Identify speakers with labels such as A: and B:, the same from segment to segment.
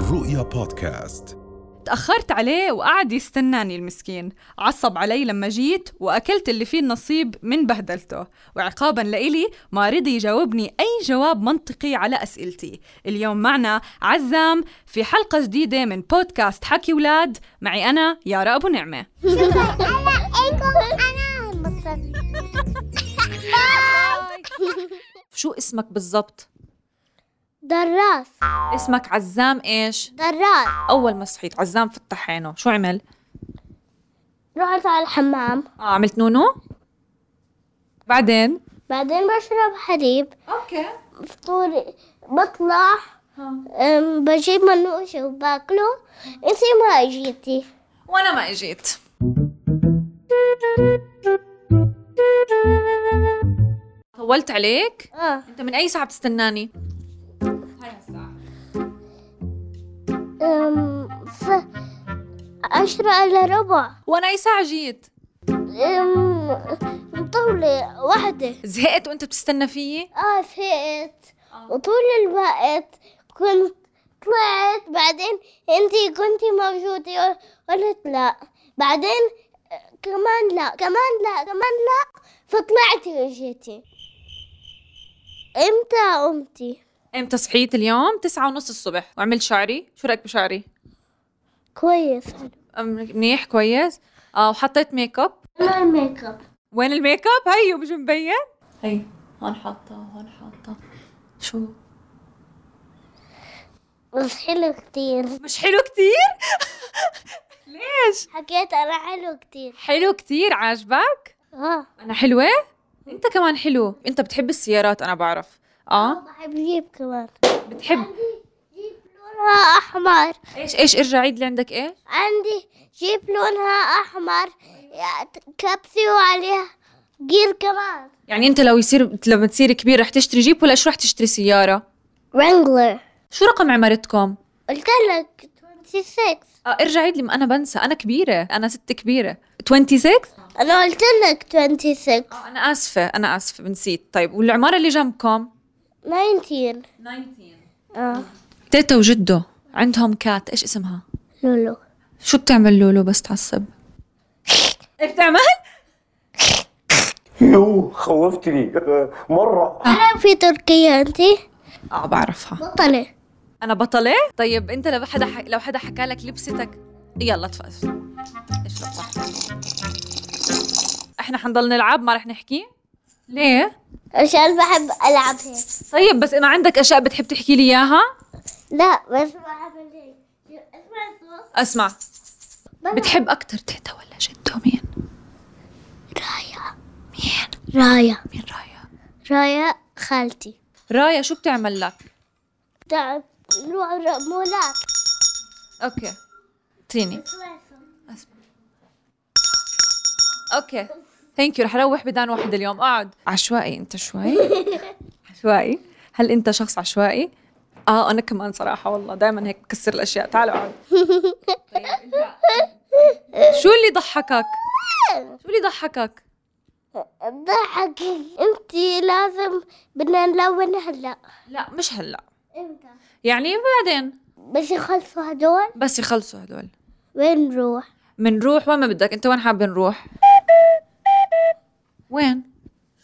A: الرؤيا بودكاست
B: تأخرت عليه وقعد يستناني المسكين عصب علي لما جيت وأكلت اللي فيه النصيب من بهدلته وعقابا لإلي ما رضي يجاوبني أي جواب منطقي على أسئلتي اليوم معنا عزام في حلقة جديدة من بودكاست حكي ولاد معي أنا يارا أبو نعمة
C: شكراً. انا لقيكم انا انبسطت
D: شو اسمك بالضبط؟
C: دراس
D: اسمك عزام ايش؟
C: دراس
D: أول ما صحيت عزام فتح عينه، شو عمل؟
C: رحت على الحمام
D: آه عملت نونو؟ بعدين؟
C: بعدين بشرب حليب
D: اوكي
C: فطوري بطلع أم، بجيب منوشة وباكله انتي ما اجيتي
D: وأنا ما إجيت طولت عليك؟
C: اه
D: أنت من أي ساعة بتستناني؟
C: أم، ف- عشرة إلا ربع
D: وأنا أي ساعة جيت؟
C: أم، طولة واحدة
D: زهقت وأنت بتستنى فيي؟
C: اه فقت وطول الوقت كنت طلعت بعدين انتي كنتي موجودة قلت لا بعدين آه، كمان لا كمان لا كمان لا فطلعتي وجيتي امتى قمتي
D: إمتى صحيت اليوم؟ تسعة ونص الصبح وعملت شعري، شو رأيك بشعري؟
C: كويس
D: أم- منيح كويس؟ آه وحطيت ميك اب
C: انا الميك اب
D: وين الميك اب هيو مش مبين هي هون حاطه هون حاطه شو
C: بس حلو كتير
D: مش حلو كتير ليش
C: حكيت انا حلو كتير
D: حلو كتير عاجبك
C: اه
D: انا حلوه انت كمان حلو انت بتحب السيارات انا بعرف اه
C: بحب جيب كمان
D: بتحب
C: جيب لونها احمر
D: ايش ايش ارجع عيد اللي عندك ايش
C: عندي جيب لونها احمر كبسي وعليها جير كمان
D: يعني انت لو يصير لما تصير كبير رح تشتري جيب ولا شو رح تشتري سياره
C: رانجلر
D: شو رقم عمارتكم
C: قلت لك 26
D: آه ارجع عيد لما انا بنسى انا كبيره انا ست كبيره 26
C: انا قلت لك 26
D: آه انا اسفه انا اسفه نسيت طيب والعماره اللي جنبكم
C: 19 اه
D: تيتا وجده عندهم كات ايش اسمها؟
C: لولو
D: شو بتعمل لولو بس تعصب؟ ايه بتعمل؟
E: يو خوفتني مره
C: انا في تركيا انت
D: اه بعرفها
C: بطلة
D: انا بطلة؟ طيب انت لو حدا ح... لو حدا حكى لك لبستك يلا تفقس اشرب صح احنا حنضل نلعب ما رح نحكي؟ ليه؟
C: عشان بحب العب هيك
D: طيب بس اذا عندك اشياء بتحب تحكي لي اياها؟
C: لا بس بحب هيك اسمع الصوت
D: اسمع بتحب اكثر تيتا ولا جدو مين؟
C: رايا مين رايا
D: مين رايا؟
C: رايا خالتي طيب،
D: رايا شو بتعمل لك؟
C: تعب نوع مولات
D: اوكي اعطيني اسمع اوكي ثانك يو رح اروح بدان واحد اليوم اقعد عشوائي انت شوي عشوائي هل انت شخص عشوائي اه انا كمان صراحه والله دائما هيك بكسر الاشياء تعالوا اقعد طيب انت- شو اللي ضحكك شو اللي ضحكك
C: ضحك انتي لازم بدنا نلون هلا
D: لا مش هلا
C: امتى
D: يعني بعدين
C: بس يخلصوا هدول
D: بس يخلصوا هدول
C: وين نروح
D: منروح وين ما بدك انت وين حابب نروح وين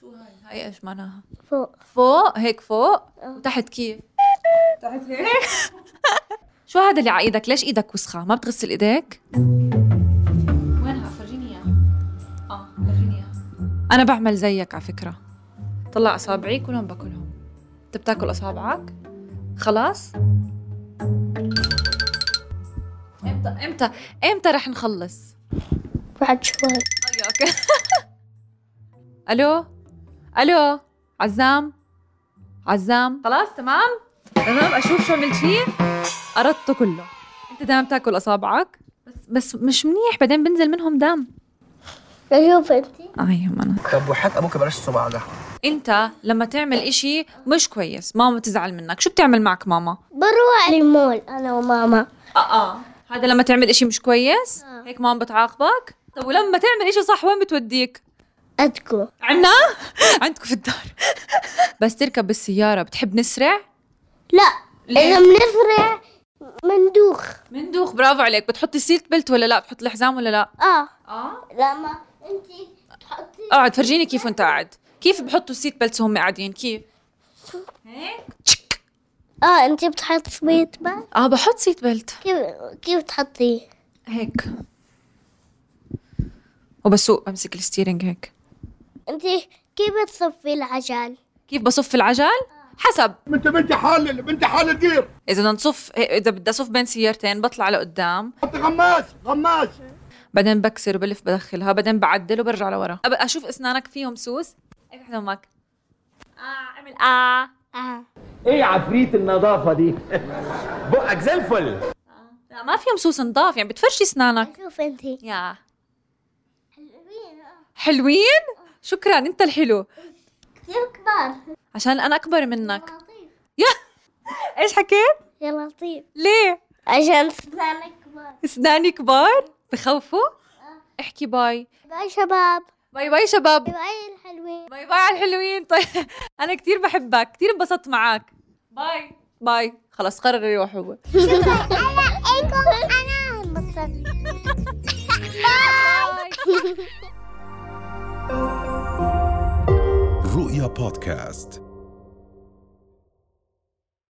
D: شو هاي هاي ايش معناها
C: فوق
D: فوق هيك فوق وتحت كيف آه. تحت هيك شو هذا اللي على ايدك ليش ايدك وسخه ما بتغسل ايديك وينها فرجيني اياها اه فرجيني اياها انا بعمل زيك على فكره طلع اصابعي كلهم باكلهم انت بتاكل اصابعك خلاص امتى امتى امتى رح نخلص
C: بعد شوي
D: أياك. الو الو عزام عزام خلاص تمام تمام اشوف شو عملت فيه قرضته كله انت دائما بتاكل اصابعك بس بس مش منيح بعدين بنزل منهم دم
C: نشوف انتي
D: ايوه انا
E: طب وحق ابوك بلاش الصباع ده
D: انت لما تعمل اشي مش كويس ماما تزعل منك شو بتعمل معك ماما
C: بروح المول انا وماما
D: اه اه هذا لما تعمل اشي مش كويس
C: آه.
D: هيك ماما بتعاقبك طب ولما تعمل اشي صح وين بتوديك
C: ادكو
D: عنا عندكم في الدار بس تركب بالسيارة بتحب نسرع
C: لا اذا بنسرع مندوخ
D: مندوخ برافو عليك بتحطي سيت بلت ولا لا بتحط الحزام ولا لا
C: اه
D: اه
C: لما انت تحطي
D: اقعد فرجيني كيف وانت قاعد كيف بحطوا السيت بلتس وهم قاعدين كيف هيك تشك.
C: اه انت بتحطي شوية بس
D: اه بحط سيت بلت
C: كيف كيف تحطيه؟
D: هيك وبسوق بمسك الستيرنج هيك
C: انت كيف بتصفي العجل؟
D: كيف بصف العجل حسب
E: انت بنت حلل بنت حلل دير
D: اذا بدنا نصف اذا بدي اصف بين سيارتين بطلع لقدام
E: حط غماس غماس
D: بعدين بكسر وبلف بدخلها بعدين بعدل وبرجع لورا أب- اشوف اسنانك فيهم سوس إيه، افتح دمك اه اعمل اه
C: اه
E: ايه عفريت النظافه دي بقك زي الفل
D: لا ما فيهم سوس نضاف يعني بتفرشي اسنانك
C: شوف انت
D: يا حلوين شكرا انت الحلو
C: كثير كبار
D: عشان انا اكبر منك
C: لطيف
D: يا ايش حكيت
C: يا لطيف
D: ليه
C: طيب. عشان اسنانك كبار
D: اسناني كبار بخوفوا احكي باي
C: باي شباب
D: باي باي شباب
C: باي الحلوين
D: باي باي على الحلوين طيب انا كثير بحبك كثير انبسطت معك باي باي خلاص قرر يروح هو
C: شكرا انا انكم انا انبسطت باي
A: رؤيا بودكاست